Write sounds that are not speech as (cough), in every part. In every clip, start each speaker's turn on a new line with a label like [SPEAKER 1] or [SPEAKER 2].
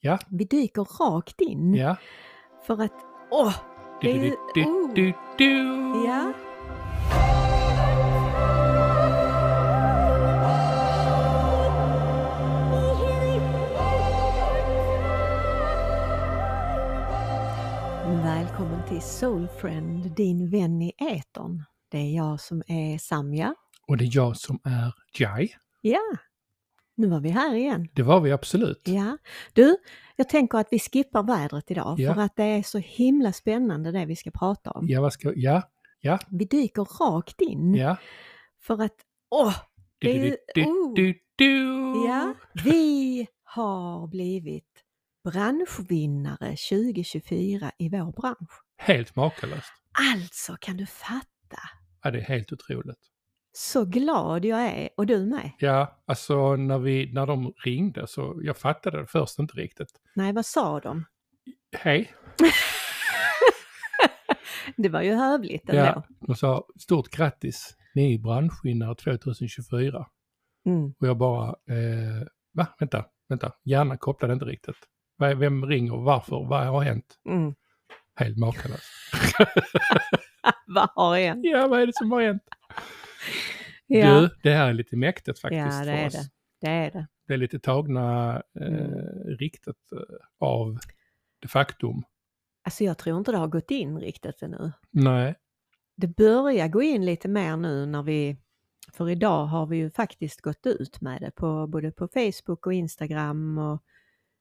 [SPEAKER 1] Ja.
[SPEAKER 2] Vi dyker rakt in
[SPEAKER 1] Ja.
[SPEAKER 2] för att, åh! Det är ju- oh.
[SPEAKER 1] Du-du-du-du-du.
[SPEAKER 2] Ja. Välkommen till Soulfriend, din vän i etern. Det är jag som är Samja.
[SPEAKER 1] Och det är jag som är Jai.
[SPEAKER 2] Ja, nu var vi här igen.
[SPEAKER 1] Det var vi absolut.
[SPEAKER 2] Ja, du, jag tänker att vi skippar vädret idag
[SPEAKER 1] Ja.
[SPEAKER 2] för att det är så himla spännande det vi ska prata om.
[SPEAKER 1] Ja, vad ska... Ja.
[SPEAKER 2] Vi dyker rakt in
[SPEAKER 1] Ja.
[SPEAKER 2] för att, åh! Det är ju- oh.
[SPEAKER 1] Du-du-du-du-du.
[SPEAKER 2] Ja, vi har blivit branschvinnare 2024 i vår bransch.
[SPEAKER 1] Helt makalöst.
[SPEAKER 2] Alltså kan du fatta
[SPEAKER 1] Ja, det är helt otroligt.
[SPEAKER 2] så glad jag är och du med.
[SPEAKER 1] Ja, alltså när, vi, när de ringde så jag fattade det först inte riktigt.
[SPEAKER 2] Nej, vad sa de?
[SPEAKER 1] Hej.
[SPEAKER 2] Det var ju hövligt ändå.
[SPEAKER 1] Ja, de sa stort grattis, ni är branschvinnare 2024.
[SPEAKER 2] Mm.
[SPEAKER 1] Och jag bara, eh, va? Vänta, vänta, hjärnan kopplade inte riktigt. Va- Vem ringer? Varför? Vad har hänt?
[SPEAKER 2] Mm.
[SPEAKER 1] Helt makalöst.
[SPEAKER 2] Vad har hänt?
[SPEAKER 1] ja, vad är det som har hänt?
[SPEAKER 2] Ja,
[SPEAKER 1] Du, det här är lite mäktigt faktiskt
[SPEAKER 2] Ja, det
[SPEAKER 1] för
[SPEAKER 2] är
[SPEAKER 1] oss. Det.
[SPEAKER 2] det är det.
[SPEAKER 1] är lite tagna eh,
[SPEAKER 2] Mm.
[SPEAKER 1] riktigt eh, av det faktum.
[SPEAKER 2] Alltså jag tror inte det har gått in riktigt ännu.
[SPEAKER 1] Nej,
[SPEAKER 2] Det börjar gå in lite mer nu när vi, för idag har vi ju faktiskt gått ut med det på både på Facebook och Instagram och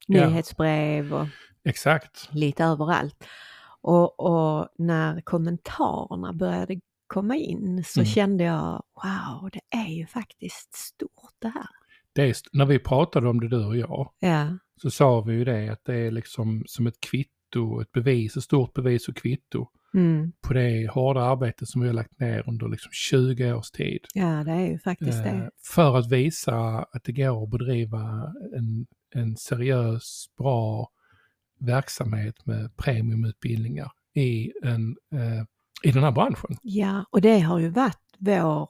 [SPEAKER 1] Ja.
[SPEAKER 2] nyhetsbrev och
[SPEAKER 1] exakt.
[SPEAKER 2] lite överallt. Och, och när kommentarerna började komma in så
[SPEAKER 1] Mm.
[SPEAKER 2] kände jag, wow, det är ju faktiskt stort det här.
[SPEAKER 1] Det är, st- när vi pratade om det du och jag
[SPEAKER 2] Ja,
[SPEAKER 1] så sa vi ju det att det är liksom som ett kvitto, ett bevis, ett stort bevis och kvitto
[SPEAKER 2] mm.
[SPEAKER 1] på det hårda arbete som vi har lagt ner under liksom 20 års tid.
[SPEAKER 2] ja det är ju faktiskt
[SPEAKER 1] Eh,
[SPEAKER 2] det.
[SPEAKER 1] För att visa att det går att bedriva en, en seriös, bra verksamhet med premiumutbildningar i, en, eh, i den här branschen.
[SPEAKER 2] Ja, och det har ju varit vår,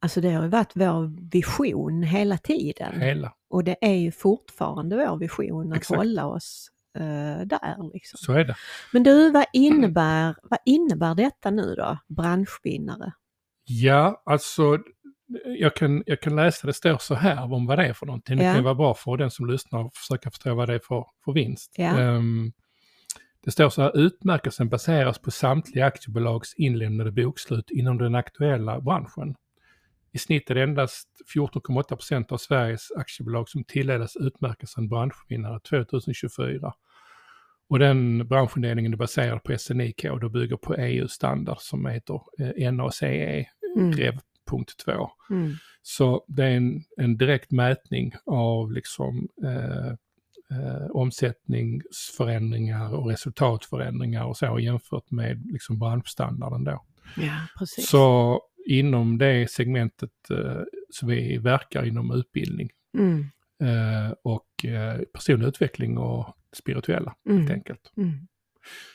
[SPEAKER 2] alltså det har ju varit vår vision hela tiden.
[SPEAKER 1] Hela.
[SPEAKER 2] Och det är ju fortfarande vår vision att
[SPEAKER 1] Exakt.
[SPEAKER 2] hålla oss eh, där. Liksom.
[SPEAKER 1] Så Mm. är det.
[SPEAKER 2] Men du, vad innebär, vad innebär detta nu då, branschvinnare?
[SPEAKER 1] Ja, alltså jag kan, jag kan läsa, det står så här om vad det är för någonting. Det
[SPEAKER 2] Ja.
[SPEAKER 1] kan ju vara bra för den som lyssnar och försöka förstå vad det är för, för vinst.
[SPEAKER 2] Ja.
[SPEAKER 1] Ehm, det står så här, utmärkelsen baseras på samtliga aktiebolags inlämnade bokslut inom den aktuella branschen. I snitt är det endast 14,8 procent av Sveriges aktiebolag som tilldelas utmärkelsen branschvinnare 2024. Och den branschindelningen är baserad på SNIK och det bygger på EU-standard som heter eh, NACE
[SPEAKER 2] Mm.
[SPEAKER 1] REV.2.
[SPEAKER 2] Mm.
[SPEAKER 1] Så det är en, en direkt mätning av liksom eh, eh, omsättningsförändringar och resultatförändringar och så jämfört med liksom branschstandarden då.
[SPEAKER 2] Ja, precis.
[SPEAKER 1] Mm. Så inom det segmentet eh, som vi verkar inom utbildning
[SPEAKER 2] Mm.
[SPEAKER 1] eh, och eh, personlig utveckling och spirituella helt
[SPEAKER 2] Mm.
[SPEAKER 1] enkelt.
[SPEAKER 2] Mm.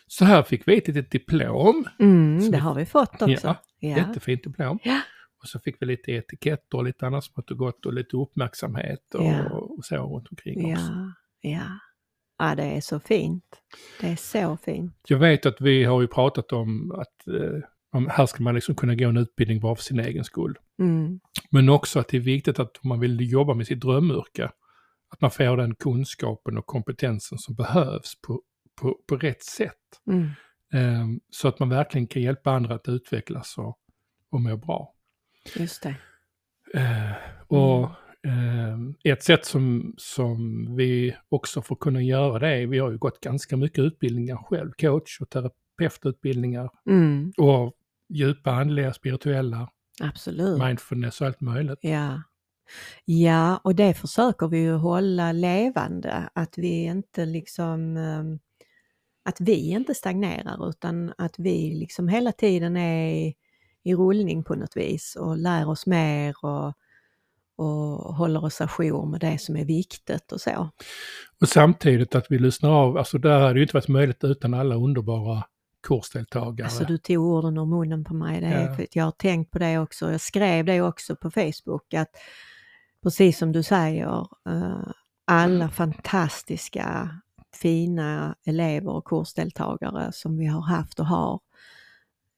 [SPEAKER 1] Så här fick vi ett litet diplom,
[SPEAKER 2] Mm.
[SPEAKER 1] Så
[SPEAKER 2] Det
[SPEAKER 1] vi-
[SPEAKER 2] har vi fått också.
[SPEAKER 1] Ja,
[SPEAKER 2] Ja.
[SPEAKER 1] jättefint diplom.
[SPEAKER 2] Ja.
[SPEAKER 1] Och så fick vi lite etiketter och lite annat smått och gott och lite uppmärksamhet och,
[SPEAKER 2] Ja.
[SPEAKER 1] och så runt omkring också.
[SPEAKER 2] Ja. ja. Ja, det är så fint. Det är så fint.
[SPEAKER 1] Jag vet att vi har ju pratat om att eh, om, här ska man liksom kunna gå en utbildning bara för sin egen skull.
[SPEAKER 2] Mm.
[SPEAKER 1] Men också att det är viktigt att om man vill jobba med sitt drömyrke, att man får den kunskapen och kompetensen som behövs på, på, på rätt sätt.
[SPEAKER 2] Mm.
[SPEAKER 1] Eh, så att man verkligen kan hjälpa andra att utvecklas och, och må bra.
[SPEAKER 2] Just det.
[SPEAKER 1] Eh, och eh, ett sätt som, som vi också får kunna göra det är, vi har ju gått ganska mycket utbildningar själv, coach och terapeututbildningar
[SPEAKER 2] Mm.
[SPEAKER 1] och djupa andliga, spirituella,
[SPEAKER 2] Absolut.
[SPEAKER 1] mindfulness och allt möjligt.
[SPEAKER 2] Ja. ja, och det försöker vi ju hålla levande, att vi inte liksom ehm, att vi inte stagnerar utan att vi liksom hela tiden är i rullning på något vis och lär oss mer och, och håller oss ajour med det som är viktigt och så.
[SPEAKER 1] Och samtidigt att vi lyssnar av, alltså det här hade ju inte varit möjligt utan alla underbara kursdeltagare.
[SPEAKER 2] Alltså du tog orden ur munnen på mig. Det är,
[SPEAKER 1] Ja.
[SPEAKER 2] för att jag har tänkt på det också. Jag skrev det också på Facebook att precis som du säger eh, alla fantastiska fina elever och kursdeltagare som vi har haft och har.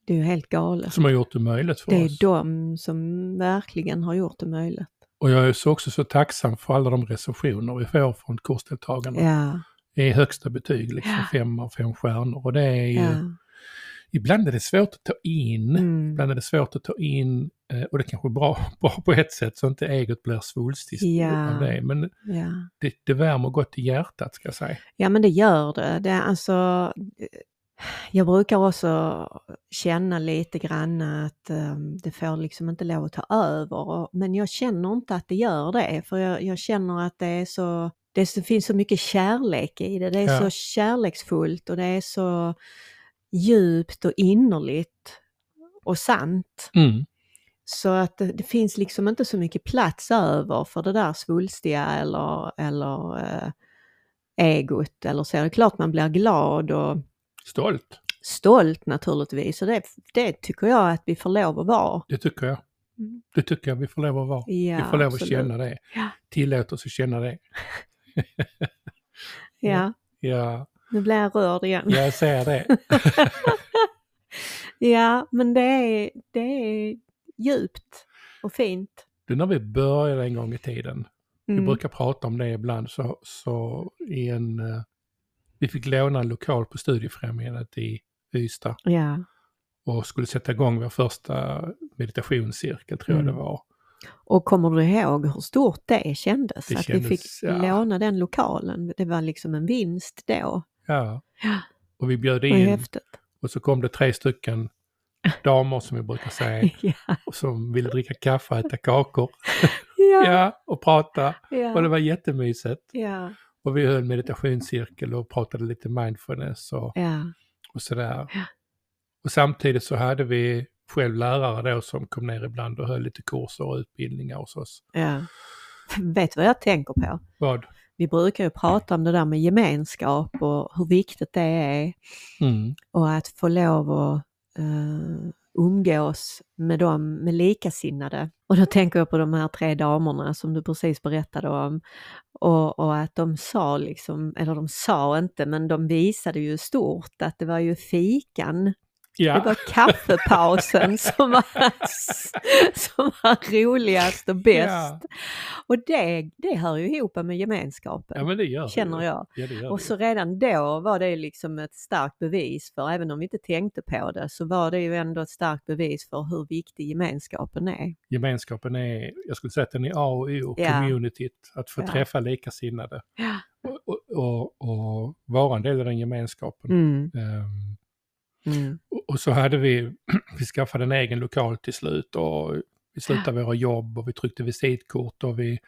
[SPEAKER 2] Det är ju helt galet.
[SPEAKER 1] Som har gjort det möjligt för
[SPEAKER 2] Det
[SPEAKER 1] oss.
[SPEAKER 2] är de som verkligen har gjort det möjligt.
[SPEAKER 1] Och jag är så också så tacksam för alla de recensioner vi får från kursdeltagarna.
[SPEAKER 2] Ja,
[SPEAKER 1] Det är högsta betyg, liksom
[SPEAKER 2] Ja.
[SPEAKER 1] fem av fem stjärnor. Och det är ju,
[SPEAKER 2] ja.
[SPEAKER 1] ibland är det svårt att ta in.
[SPEAKER 2] Mm.
[SPEAKER 1] Ibland är det svårt att ta in, eh, och det kanske är bra, (laughs) bra på ett sätt så inte eget blir svulstigt
[SPEAKER 2] Ja.
[SPEAKER 1] av det. Men
[SPEAKER 2] ja.
[SPEAKER 1] det, det värmer gott i hjärtat ska jag säga.
[SPEAKER 2] Ja men det gör det. det är alltså, jag brukar också känna lite grann att eh, det får liksom inte lov att ta över. Och- Men jag känner inte att det gör det. För jag, jag känner att det är så, det är så, finns så mycket kärlek i det. Det är
[SPEAKER 1] Ja.
[SPEAKER 2] så kärleksfullt och det är så djupt och innerligt och sant.
[SPEAKER 1] Mm.
[SPEAKER 2] Så att det, det finns liksom inte så mycket plats över för det där svulstiga eller, eller eh, egot eller så. Det är klart man blir glad och
[SPEAKER 1] Stolt,
[SPEAKER 2] stolt naturligtvis och det, det tycker jag att vi får lov att vara.
[SPEAKER 1] det tycker jag.
[SPEAKER 2] Mm.
[SPEAKER 1] Det tycker jag vi får lov att vara.
[SPEAKER 2] Ja,
[SPEAKER 1] vi får lov att
[SPEAKER 2] absolut.
[SPEAKER 1] känna det.
[SPEAKER 2] Ja.
[SPEAKER 1] Tillåt oss att
[SPEAKER 2] (laughs)
[SPEAKER 1] känna det. (laughs)
[SPEAKER 2] Ja,
[SPEAKER 1] Ja,
[SPEAKER 2] nu blir jag rörd igen.
[SPEAKER 1] jag säger det.
[SPEAKER 2] (laughs) Ja, men det är, det är djupt och fint.
[SPEAKER 1] Du, när vi började en gång i tiden, Vi
[SPEAKER 2] Mm.
[SPEAKER 1] brukar prata om det ibland. Så, så i en, eh, vi fick låna en lokal på Studiefrämjandet i Ystad
[SPEAKER 2] Ja,
[SPEAKER 1] och skulle sätta igång vår första meditationscirkel, tror jag
[SPEAKER 2] Mm.
[SPEAKER 1] det var.
[SPEAKER 2] och kommer du ihåg hur stort det kändes?
[SPEAKER 1] Det
[SPEAKER 2] att
[SPEAKER 1] kändes-
[SPEAKER 2] vi fick
[SPEAKER 1] ja.
[SPEAKER 2] låna den lokalen. Det var liksom en vinst då.
[SPEAKER 1] Ja.
[SPEAKER 2] Ja.
[SPEAKER 1] Och vi bjöd
[SPEAKER 2] Det var ju
[SPEAKER 1] in
[SPEAKER 2] häftigt.
[SPEAKER 1] och så kom det tre stycken damer som vi brukar säga,
[SPEAKER 2] (laughs) Ja,
[SPEAKER 1] och som ville dricka kaffe och äta kakor.
[SPEAKER 2] ja,
[SPEAKER 1] Ja, och prata. Och det
[SPEAKER 2] ja,
[SPEAKER 1] var jättemysigt.
[SPEAKER 2] ja,
[SPEAKER 1] Och vi höll meditationscirkel och pratade lite mindfulness och
[SPEAKER 2] ja,
[SPEAKER 1] och sådär.
[SPEAKER 2] Ja.
[SPEAKER 1] Och samtidigt så hade vi själv lärare då som kom ner ibland och höll lite kurser och utbildningar hos oss.
[SPEAKER 2] ja. Vet du vad jag tänker på?
[SPEAKER 1] Vad?
[SPEAKER 2] Vi brukar ju prata om det där med gemenskap och hur viktigt det är
[SPEAKER 1] Mm.
[SPEAKER 2] och att få lov att eh, umgås med dem, med likasinnade. Och då tänker jag på de här tre damerna som du precis berättade om. Och, och att de sa liksom, eller de sa inte, men de visade ju stort att det var ju fikan Det
[SPEAKER 1] Ja,
[SPEAKER 2] var
[SPEAKER 1] (laughs)
[SPEAKER 2] kaffepausen som var, som var roligast och bäst. Och det, det hör ju ihop med gemenskapen,
[SPEAKER 1] ja men det gör det
[SPEAKER 2] känner
[SPEAKER 1] ju.
[SPEAKER 2] jag.
[SPEAKER 1] Ja, det gör
[SPEAKER 2] Och
[SPEAKER 1] det
[SPEAKER 2] så redan då var det liksom ett starkt bevis för, även om vi inte tänkte på det, så var det ju ändå ett starkt bevis för hur viktig gemenskapen är.
[SPEAKER 1] ju. Gemenskapen är, jag skulle säga att den är A och O,
[SPEAKER 2] Ja.
[SPEAKER 1] communityt, att få
[SPEAKER 2] Ja.
[SPEAKER 1] träffa likasinnade
[SPEAKER 2] Ja.
[SPEAKER 1] och, och, och, och vara en del av den gemenskapen. Ehm,
[SPEAKER 2] Mm.
[SPEAKER 1] och, och så hade vi, (clears throat) vi skaffade en egen lokal till slut och vi slutade
[SPEAKER 2] Ah.
[SPEAKER 1] våra jobb och vi tryckte visitkort och vi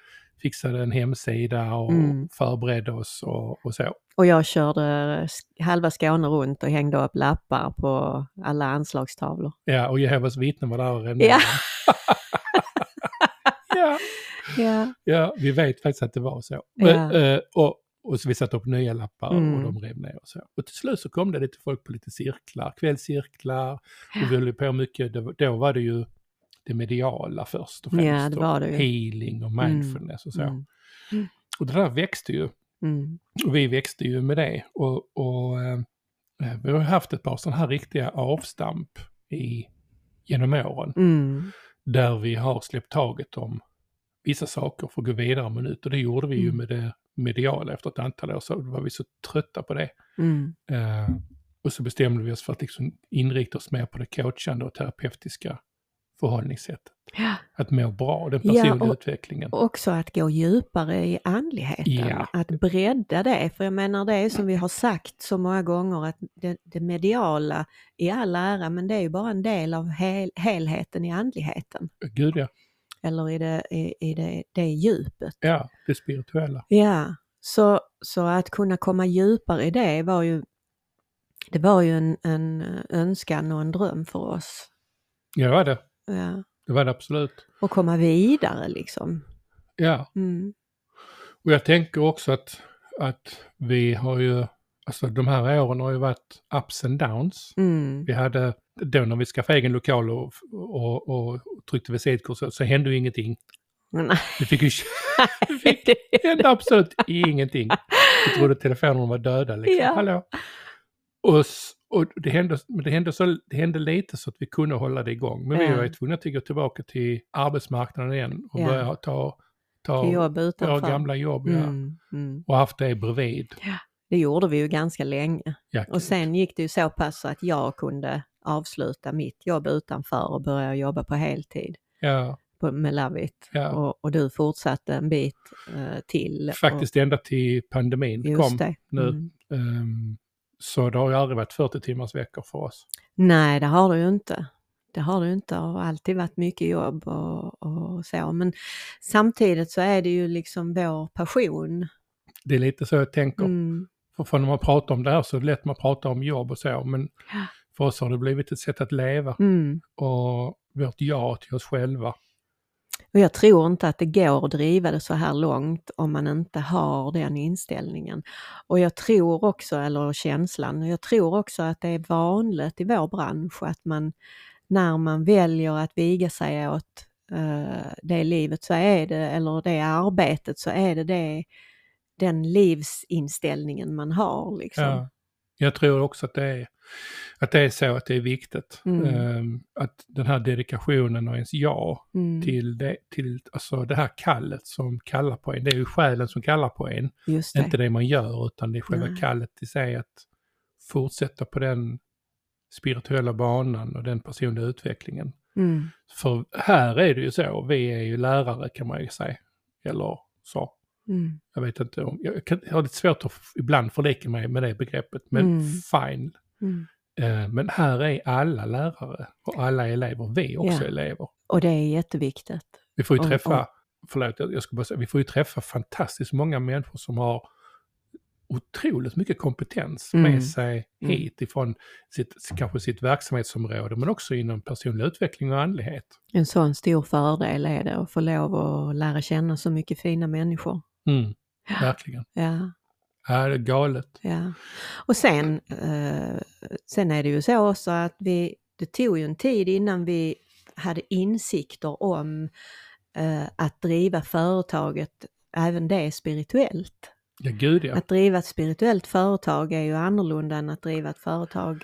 [SPEAKER 1] fixade en hemsida och
[SPEAKER 2] Mm.
[SPEAKER 1] förberedde oss och, och så.
[SPEAKER 2] Och jag körde sk- halva Skåne runt och hängde upp lappar på alla anslagstavlor.
[SPEAKER 1] Ja, och Jehovas vittnen var där och
[SPEAKER 2] (laughs)
[SPEAKER 1] räddade
[SPEAKER 2] Ja,
[SPEAKER 1] dem. ja.
[SPEAKER 2] ja,
[SPEAKER 1] ja, vi vet faktiskt att det var så.
[SPEAKER 2] Ja.
[SPEAKER 1] Eh, eh, och, och så vi satte upp nya lappar och
[SPEAKER 2] Mm.
[SPEAKER 1] de rev ner och så. Och till slut så kom det lite folk på lite cirklar, kvällscirklar. Och vi höll ju på mycket, då, då var det ju det mediala först och
[SPEAKER 2] Ja,
[SPEAKER 1] främst.
[SPEAKER 2] det var det
[SPEAKER 1] och
[SPEAKER 2] ju.
[SPEAKER 1] healing och mindfulness och så.
[SPEAKER 2] Mm.
[SPEAKER 1] Och det där växte ju.
[SPEAKER 2] Mm.
[SPEAKER 1] Och vi växte ju med det. Och, och eh, vi har haft ett par sådana här riktiga avstamp i, genom åren.
[SPEAKER 2] Mm.
[SPEAKER 1] Där vi har släppt taget om vissa saker för att gå vidare med nytt. Och det gjorde vi ju
[SPEAKER 2] Mm.
[SPEAKER 1] med det mediala efter ett antal år. Så var vi så trötta på det.
[SPEAKER 2] Mm.
[SPEAKER 1] Eh, och så bestämde vi oss för att liksom inrikta oss mer på det coachande och terapeutiska förhållningssättet.
[SPEAKER 2] Ja.
[SPEAKER 1] Att må bra, den
[SPEAKER 2] Ja,
[SPEAKER 1] personliga
[SPEAKER 2] och-
[SPEAKER 1] utvecklingen.
[SPEAKER 2] Också att gå djupare i andligheten,
[SPEAKER 1] Ja.
[SPEAKER 2] att bredda det. För jag menar det är som vi har sagt så många gånger att det, det mediala i all ära men det är ju bara en del av hel, helheten i andligheten.
[SPEAKER 1] Gud ja.
[SPEAKER 2] Eller i det, i, i det, det djupet.
[SPEAKER 1] ja, det spirituella.
[SPEAKER 2] Ja, så, så att kunna komma djupare i det var ju, det var ju en, en önskan och en dröm för oss.
[SPEAKER 1] Ja, det var det.
[SPEAKER 2] Ja.
[SPEAKER 1] Det var det absolut.
[SPEAKER 2] Och komma vidare liksom.
[SPEAKER 1] Ja,
[SPEAKER 2] Mm.
[SPEAKER 1] och jag tänker också att, att vi har ju, alltså de här åren har ju varit ups and downs.
[SPEAKER 2] Mm.
[SPEAKER 1] Vi hade, då när vi skaffade egen lokal och, och, och tryckte visitkort så, så hände ju ingenting.
[SPEAKER 2] Nej.
[SPEAKER 1] Vi fick ju... vi
[SPEAKER 2] (laughs)
[SPEAKER 1] fick hände absolut ingenting. Vi trodde telefonerna var döda liksom.
[SPEAKER 2] Ja.
[SPEAKER 1] Hallå? Och, s- och det, hände, men det, hände så, det hände lite så att vi kunde hålla det igång. Men vi
[SPEAKER 2] Ja.
[SPEAKER 1] var ju tvungna att gå tillbaka till arbetsmarknaden igen och
[SPEAKER 2] Ja.
[SPEAKER 1] börja ta, ta
[SPEAKER 2] till jobb
[SPEAKER 1] våra
[SPEAKER 2] utanför.
[SPEAKER 1] gamla jobb. Ja.
[SPEAKER 2] Mm, mm.
[SPEAKER 1] Och haft det bredvid.
[SPEAKER 2] Det gjorde vi ju ganska länge.
[SPEAKER 1] Ja,
[SPEAKER 2] Och sen gick det ju så pass att jag kunde avsluta mitt jobb utanför och börja jobba på heltid
[SPEAKER 1] ja,
[SPEAKER 2] på, med Lavit.
[SPEAKER 1] ja.
[SPEAKER 2] Och, och du fortsatte en bit eh, till.
[SPEAKER 1] Faktiskt ända till pandemin
[SPEAKER 2] och, just
[SPEAKER 1] kom.
[SPEAKER 2] det.
[SPEAKER 1] nu.
[SPEAKER 2] Mm.
[SPEAKER 1] Ehm, så det har ju aldrig varit 40 timmars veckor för oss.
[SPEAKER 2] Nej, det har du ju inte. Det har du inte. Det har alltid varit mycket jobb och, och så. Men samtidigt så är det ju liksom vår passion.
[SPEAKER 1] Det är lite så jag tänker.
[SPEAKER 2] Mm.
[SPEAKER 1] För, för när man pratar om det här så är det lätt man pratar om jobb och så, men
[SPEAKER 2] Ja.
[SPEAKER 1] för oss har det blivit ett sätt att leva
[SPEAKER 2] Mm.
[SPEAKER 1] och vårt ja till oss själva.
[SPEAKER 2] Och jag tror inte att det går att driva det så här långt om man inte har den inställningen. Och jag tror också, eller känslan, jag tror också att det är vanligt i vår bransch att man när man väljer att viga sig åt eh, det livet så är det, eller det arbetet så är det, det den livsinställningen man har. Liksom.
[SPEAKER 1] Ja. Jag tror också att det, är, att det är så att det är viktigt.
[SPEAKER 2] Mm.
[SPEAKER 1] Ehm, att den här dedikationen och ens ja
[SPEAKER 2] Mm,
[SPEAKER 1] till, det, till alltså det här kallet som kallar på en. Det är ju själen som kallar på en.
[SPEAKER 2] just
[SPEAKER 1] Det är
[SPEAKER 2] det.
[SPEAKER 1] inte det man gör utan det är själva
[SPEAKER 2] Nej.
[SPEAKER 1] kallet i sig att fortsätta på den spirituella banan och den personliga utvecklingen.
[SPEAKER 2] Mm,
[SPEAKER 1] För här är det ju så, vi är ju lärare kan man ju säga. Eller så.
[SPEAKER 2] mm,
[SPEAKER 1] Jag vet inte om, jag, kan, jag har lite svårt att f- ibland förlika mig med det begreppet, men
[SPEAKER 2] Mm.
[SPEAKER 1] fine.
[SPEAKER 2] mm.
[SPEAKER 1] Eh, men här är alla lärare och alla elever, vi är också
[SPEAKER 2] Ja.
[SPEAKER 1] elever.
[SPEAKER 2] Och det är jätteviktigt.
[SPEAKER 1] Vi får ju
[SPEAKER 2] Om-
[SPEAKER 1] träffa,
[SPEAKER 2] om-
[SPEAKER 1] förlåt, jag jag ska bara säga, vi får ju träffa fantastiskt många människor som har otroligt mycket kompetens
[SPEAKER 2] Mm.
[SPEAKER 1] med sig
[SPEAKER 2] Mm.
[SPEAKER 1] hit ifrån sitt, kanske sitt verksamhetsområde men också inom personlig utveckling och andlighet.
[SPEAKER 2] En sån stor fördel är det att få lov att lära känna så mycket fina människor.
[SPEAKER 1] Mm. Verkligen.
[SPEAKER 2] Ja,
[SPEAKER 1] Ja, det är galet.
[SPEAKER 2] ja. Och sen, eh, sen är det ju så också att vi, det tog ju en tid innan vi hade insikter om eh, att driva företaget, även det spirituellt.
[SPEAKER 1] Ja, gud ja.
[SPEAKER 2] Att driva ett spirituellt företag är ju annorlunda än att driva ett företag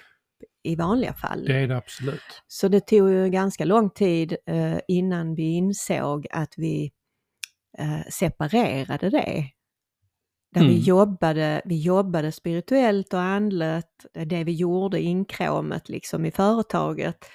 [SPEAKER 2] i vanliga fall.
[SPEAKER 1] Det är det absolut.
[SPEAKER 2] Så det tog ju ganska lång tid eh, innan vi insåg att vi eh, separerade det. Där vi,
[SPEAKER 1] Mm.
[SPEAKER 2] jobbade, vi jobbade spirituellt och andligt, det vi gjorde inkråmet liksom i företaget.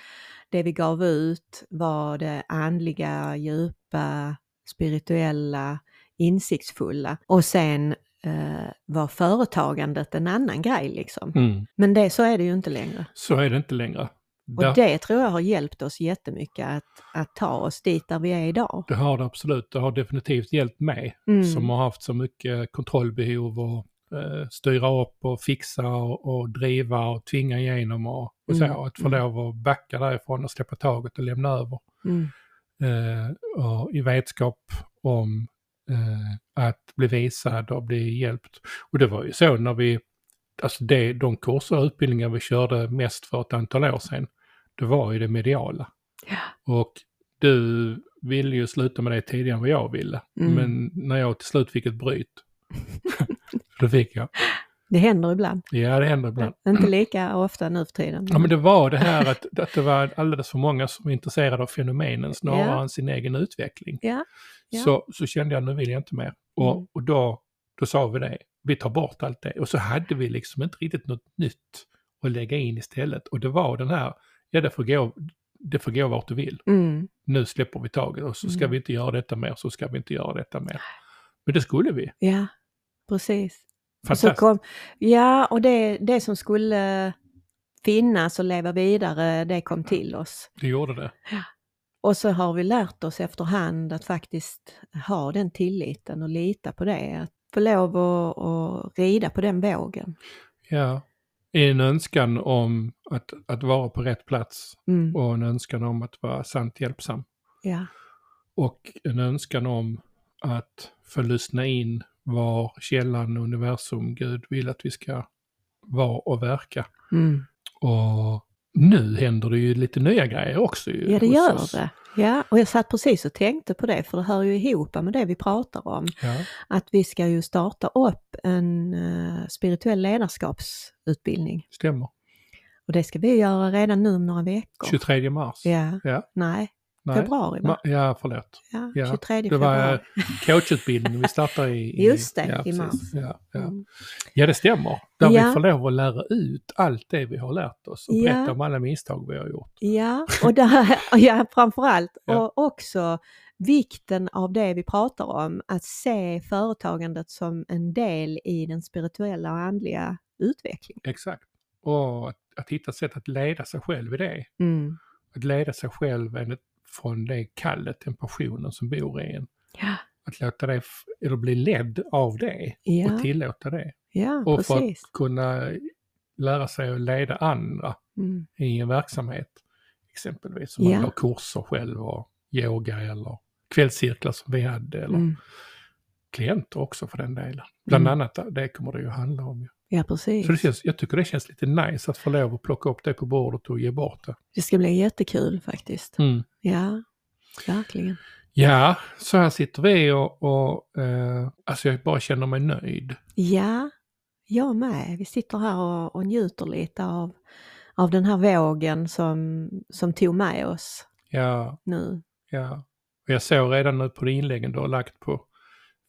[SPEAKER 2] Det vi gav ut var det andliga, djupa, spirituella, insiktsfulla. Och sen eh, var företagandet en annan grej liksom.
[SPEAKER 1] Mm.
[SPEAKER 2] Men det, så är det ju inte längre.
[SPEAKER 1] Så är det inte längre.
[SPEAKER 2] Och
[SPEAKER 1] Det,
[SPEAKER 2] det tror jag har hjälpt oss jättemycket att, att ta oss dit där vi är idag.
[SPEAKER 1] det har det absolut. Det har definitivt hjälpt mig
[SPEAKER 2] Mm.
[SPEAKER 1] som har haft så mycket kontrollbehov och eh, styra upp och fixa och, och driva och tvinga igenom och, och så.
[SPEAKER 2] Mm,
[SPEAKER 1] Att få
[SPEAKER 2] mm.
[SPEAKER 1] lov att backa därifrån och släppa taget och lämna över.
[SPEAKER 2] Mm.
[SPEAKER 1] Eh, och I vetskap om eh, att bli visad och bli hjälpt. Och det var ju så när vi, alltså det, de kurser och utbildningar vi körde mest för ett antal år sedan, det var ju det mediala. Och du ville ju sluta med det tidigare än vad jag ville.
[SPEAKER 2] Mm.
[SPEAKER 1] Men när jag till slut fick ett bryt, (laughs) då fick jag.
[SPEAKER 2] Det händer ibland.
[SPEAKER 1] Ja, det händer ibland.
[SPEAKER 2] Inte lika ofta nu för tiden.
[SPEAKER 1] Ja, men det var det här att, att det var alldeles för många som var intresserade av fenomenen snarare
[SPEAKER 2] Ja.
[SPEAKER 1] än sin egen utveckling.
[SPEAKER 2] Ja, ja.
[SPEAKER 1] Så, så kände jag, nu vill jag inte mer. Och,
[SPEAKER 2] Mm.
[SPEAKER 1] och då, då sa vi det, vi tar bort allt det. Och så hade vi liksom inte riktigt något nytt att lägga in istället. Och det var den här, ja det får gå, det får gå vart du vill.
[SPEAKER 2] Mm.
[SPEAKER 1] Nu släpper vi taget och så ska
[SPEAKER 2] Mm.
[SPEAKER 1] vi inte göra detta mer, så ska vi inte göra detta mer. Men det skulle vi.
[SPEAKER 2] ja precis. Och så
[SPEAKER 1] Fantastiskt.
[SPEAKER 2] kom, ja, och det, det som skulle finnas och leva vidare, det kom till oss.
[SPEAKER 1] Det gjorde det.
[SPEAKER 2] Och så har vi lärt oss efterhand att faktiskt ha den tilliten och lita på det. Att få lov att, att rida på den vågen.
[SPEAKER 1] Ja. En önskan om att, att vara på rätt plats
[SPEAKER 2] Mm.
[SPEAKER 1] och en önskan om att vara sant hjälpsam.
[SPEAKER 2] Ja.
[SPEAKER 1] Och en önskan om att få lyssna in var källan, universum, Gud vill att vi ska vara och verka.
[SPEAKER 2] Mm.
[SPEAKER 1] Och nu händer det ju lite nya grejer också ju.
[SPEAKER 2] ja, det
[SPEAKER 1] hos
[SPEAKER 2] gör
[SPEAKER 1] oss.
[SPEAKER 2] det. Ja, och jag satt precis och tänkte på det, för det hör ju ihop med det vi pratar om.
[SPEAKER 1] Ja.
[SPEAKER 2] Att vi ska ju starta upp en eh, spirituell ledarskapsutbildning.
[SPEAKER 1] Stämmer.
[SPEAKER 2] Och det ska vi göra redan nu om några veckor.
[SPEAKER 1] 23 mars.
[SPEAKER 2] Ja,
[SPEAKER 1] Ja.
[SPEAKER 2] nej,
[SPEAKER 1] Nej.
[SPEAKER 2] februari va?
[SPEAKER 1] Ma- ja, förlåt.
[SPEAKER 2] Ja,
[SPEAKER 1] ja.
[SPEAKER 2] 23
[SPEAKER 1] Det var
[SPEAKER 2] februari.
[SPEAKER 1] eh, coachutbildning vi startar i, i
[SPEAKER 2] Just det,
[SPEAKER 1] ja,
[SPEAKER 2] i
[SPEAKER 1] precis.
[SPEAKER 2] mars.
[SPEAKER 1] Ja, ja.
[SPEAKER 2] Mm.
[SPEAKER 1] ja, det stämmer. Där
[SPEAKER 2] Ja.
[SPEAKER 1] vi får lov att lära ut allt det vi har lärt oss och
[SPEAKER 2] Ja.
[SPEAKER 1] berätta om alla misstag vi har gjort.
[SPEAKER 2] Ja, och där, (laughs) ja, framförallt.
[SPEAKER 1] Ja.
[SPEAKER 2] Och också vikten av det vi pratar om, att se företagandet som en del i den spirituella och andliga utvecklingen.
[SPEAKER 1] Exakt. Och att, att hitta sätt att leda sig själv i det. Att leda sig själv enligt, från det kallet, den passionen som bor i en.
[SPEAKER 2] Ja,
[SPEAKER 1] Att låta det, f- eller bli ledd av det och
[SPEAKER 2] ja,
[SPEAKER 1] tillåta det.
[SPEAKER 2] ja
[SPEAKER 1] Och för
[SPEAKER 2] precis.
[SPEAKER 1] att kunna lära sig att leda andra
[SPEAKER 2] Mm.
[SPEAKER 1] i en verksamhet. Exempelvis om
[SPEAKER 2] Ja.
[SPEAKER 1] man har kurser själv och yoga eller kvällscirklar som vi hade eller
[SPEAKER 2] Mm.
[SPEAKER 1] klienter också för den delen. Bland
[SPEAKER 2] Mm.
[SPEAKER 1] annat det kommer det ju handla om. ju.
[SPEAKER 2] Ja, precis.
[SPEAKER 1] Så det känns, jag tycker det känns lite nice att få lov att plocka upp det på bordet och ge bort det.
[SPEAKER 2] Det ska bli jättekul faktiskt. Ja, verkligen.
[SPEAKER 1] Ja, så här sitter vi och, och eh, alltså jag bara känner mig nöjd.
[SPEAKER 2] Ja, jag med. Vi sitter här och, och njuter lite av, av den här vågen som, som tog med oss
[SPEAKER 1] Ja,
[SPEAKER 2] nu.
[SPEAKER 1] ja. Och jag såg redan nu på de inläggen du har lagt på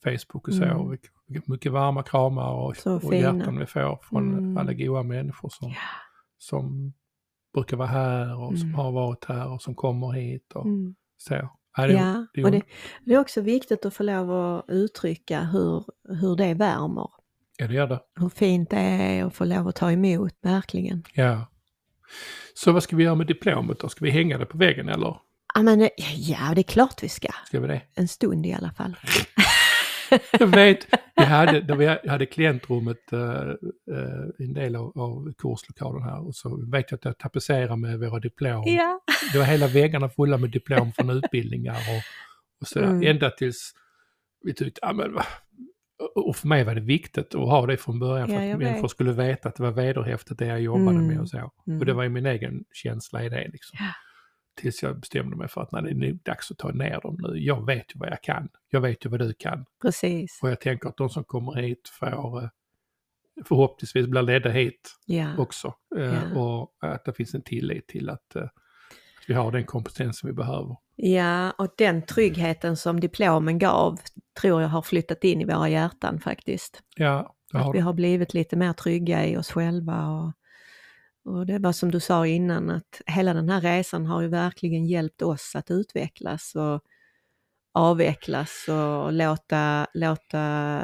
[SPEAKER 1] Facebook och så,
[SPEAKER 2] Mm.
[SPEAKER 1] mm. mycket varma kramar och,
[SPEAKER 2] Så
[SPEAKER 1] och
[SPEAKER 2] fina.
[SPEAKER 1] hjärtan vi får från
[SPEAKER 2] Mm.
[SPEAKER 1] alla goa människor som,
[SPEAKER 2] Ja.
[SPEAKER 1] som brukar vara här och som
[SPEAKER 2] Mm.
[SPEAKER 1] har varit här och som kommer hit och
[SPEAKER 2] Mm.
[SPEAKER 1] så. Ja, det,
[SPEAKER 2] Ja,
[SPEAKER 1] det är
[SPEAKER 2] och det, det är också viktigt att få lov att uttrycka hur, hur det värmer.
[SPEAKER 1] ja, det gör det.
[SPEAKER 2] Hur fint det är att få lov att ta emot, verkligen.
[SPEAKER 1] Ja. Så vad ska vi göra med diplomet då? Ska vi hänga det på väggen eller?
[SPEAKER 2] Ja, men eh, ja, det är klart vi ska.
[SPEAKER 1] Ska vi det?
[SPEAKER 2] En stund i alla fall.
[SPEAKER 1] Jag vet, vi hade, när vi hade klientrummet eh, eh, en del av, av kurslokalen här och så vet jag att jag tapetserade med våra diplom.
[SPEAKER 2] Ja.
[SPEAKER 1] Det var hela väggarna fulla med diplom från utbildningar och, och sådär.
[SPEAKER 2] Mm.
[SPEAKER 1] Ända tills vi tyckte, ja men va- och för mig var det viktigt att ha det från början
[SPEAKER 2] Ja,
[SPEAKER 1] för
[SPEAKER 2] jag
[SPEAKER 1] att människor
[SPEAKER 2] vet.
[SPEAKER 1] skulle veta att det var vederhäftigt det jag jobbade
[SPEAKER 2] Mm.
[SPEAKER 1] med och så.
[SPEAKER 2] Mm.
[SPEAKER 1] Och det var ju min egen känsla i det liksom.
[SPEAKER 2] Ja.
[SPEAKER 1] Tills jag bestämde mig för att nej, det är nog dags att ta ner dem nu. Jag vet ju vad jag kan. Jag vet ju vad du kan.
[SPEAKER 2] Precis.
[SPEAKER 1] Och jag tänker att de som kommer hit får eh, förhoppningsvis blir ledda hit
[SPEAKER 2] Ja.
[SPEAKER 1] också. Eh,
[SPEAKER 2] Ja.
[SPEAKER 1] Och att det finns en tillit till att, eh, att vi har den kompetensen vi behöver.
[SPEAKER 2] ja, och den tryggheten som diplomen gav tror jag har flyttat in i våra hjärtan faktiskt.
[SPEAKER 1] Ja, det har
[SPEAKER 2] Att vi
[SPEAKER 1] du.
[SPEAKER 2] har blivit lite mer trygga i oss själva. Och, och det var som du sa innan att hela den här resan har ju verkligen hjälpt oss att utvecklas och avvecklas och låta, låta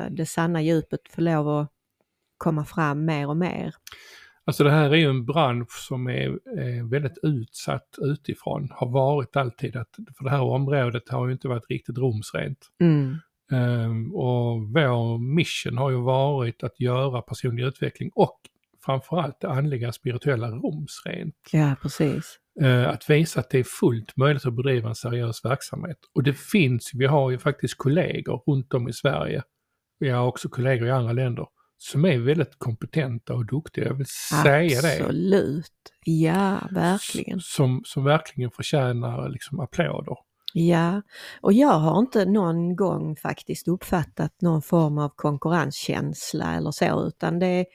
[SPEAKER 2] det sanna djupet få lov att komma fram mer och mer.
[SPEAKER 1] Alltså det här är ju en bransch som är, eh, väldigt utsatt utifrån. Har varit alltid. Att, för det här området har ju inte varit riktigt rumsrent. Ehm, och vår mission har ju varit att göra personlig utveckling och framförallt det andliga spirituella rumsrent.
[SPEAKER 2] Ja, precis.
[SPEAKER 1] Eh, att visa att det är fullt möjligt att bedriva en seriös verksamhet. Och det finns, vi har ju faktiskt kollegor runt om i Sverige, vi har också kollegor i andra länder, som är väldigt kompetenta och duktiga, jag vill säga det.
[SPEAKER 2] Absolut. Ja, verkligen.
[SPEAKER 1] Som, som verkligen förtjänar liksom applåder.
[SPEAKER 2] Ja, och jag har inte någon gång faktiskt uppfattat någon form av konkurrenskänsla eller så, utan det är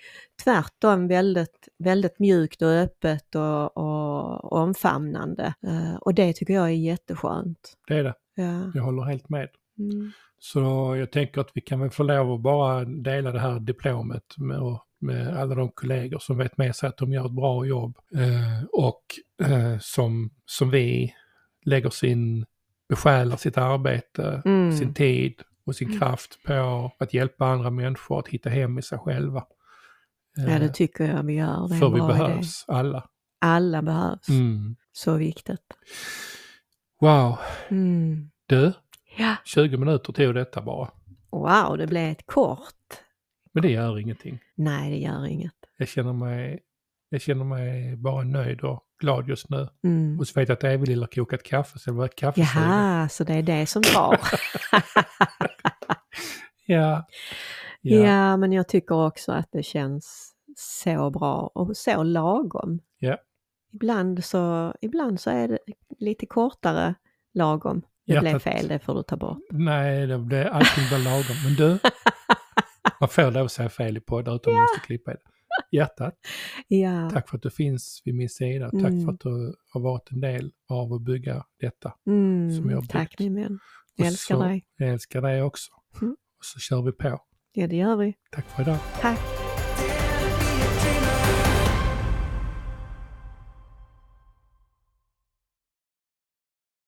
[SPEAKER 2] tvärtom väldigt, väldigt mjukt och öppet och, och omfamnande. Eh, Och det tycker jag är jätteskönt.
[SPEAKER 1] Det är det,
[SPEAKER 2] Ja.
[SPEAKER 1] jag håller helt med.
[SPEAKER 2] Mm.
[SPEAKER 1] Så jag tänker att vi kan väl få lov att bara dela det här diplomet med, och med alla de kollegor som vet med sig att de gör ett bra jobb eh, och eh, som, som vi lägger sin, besjälar sitt arbete,
[SPEAKER 2] Mm.
[SPEAKER 1] sin tid och sin
[SPEAKER 2] Mm.
[SPEAKER 1] kraft på att hjälpa andra människor att hitta hem i sig själva.
[SPEAKER 2] ja, det tycker jag vi gör. Det är
[SPEAKER 1] för
[SPEAKER 2] en
[SPEAKER 1] Eh, vi
[SPEAKER 2] bra Idé.
[SPEAKER 1] behövs alla.
[SPEAKER 2] Alla behövs.
[SPEAKER 1] Mm.
[SPEAKER 2] Så viktigt.
[SPEAKER 1] Wow,
[SPEAKER 2] Mm.
[SPEAKER 1] du,
[SPEAKER 2] Ja.
[SPEAKER 1] 20 minuter tog detta bara.
[SPEAKER 2] Wow, det blev ett kort.
[SPEAKER 1] Men det gör ingenting.
[SPEAKER 2] Nej, det gör inget.
[SPEAKER 1] Jag känner mig, jag känner mig bara nöjd och glad just nu.
[SPEAKER 2] Mm.
[SPEAKER 1] Och så vet jag att Evelyn har kokat kaffe så det var ett kaffesugen.
[SPEAKER 2] Jaha, så det är det som drar.
[SPEAKER 1] Ja.
[SPEAKER 2] Ja.
[SPEAKER 1] Ja.
[SPEAKER 2] men jag tycker också att det känns så bra och så lagom.
[SPEAKER 1] Ja.
[SPEAKER 2] Ibland, så, ibland så är det lite kortare lagom. Det
[SPEAKER 1] Hjärtat-
[SPEAKER 2] blev fel, det får du ta bort.
[SPEAKER 1] Nej, det, det, allting blir lagom. Men du,
[SPEAKER 2] (laughs)
[SPEAKER 1] man får lov att säga fel i poddar utan man måste klippa i det. Hjärtat,
[SPEAKER 2] Ja,
[SPEAKER 1] tack för att du finns vid min sida. Tack
[SPEAKER 2] Mm.
[SPEAKER 1] för att du har varit en del av att bygga detta. som jag
[SPEAKER 2] mm,
[SPEAKER 1] har
[SPEAKER 2] tack
[SPEAKER 1] byggt.
[SPEAKER 2] min vän. Jag
[SPEAKER 1] Och
[SPEAKER 2] älskar
[SPEAKER 1] så-
[SPEAKER 2] dig.
[SPEAKER 1] Jag älskar dig också.
[SPEAKER 2] Mm.
[SPEAKER 1] Och så kör vi på.
[SPEAKER 2] Ja, det gör vi.
[SPEAKER 1] Tack för idag.
[SPEAKER 2] Tack.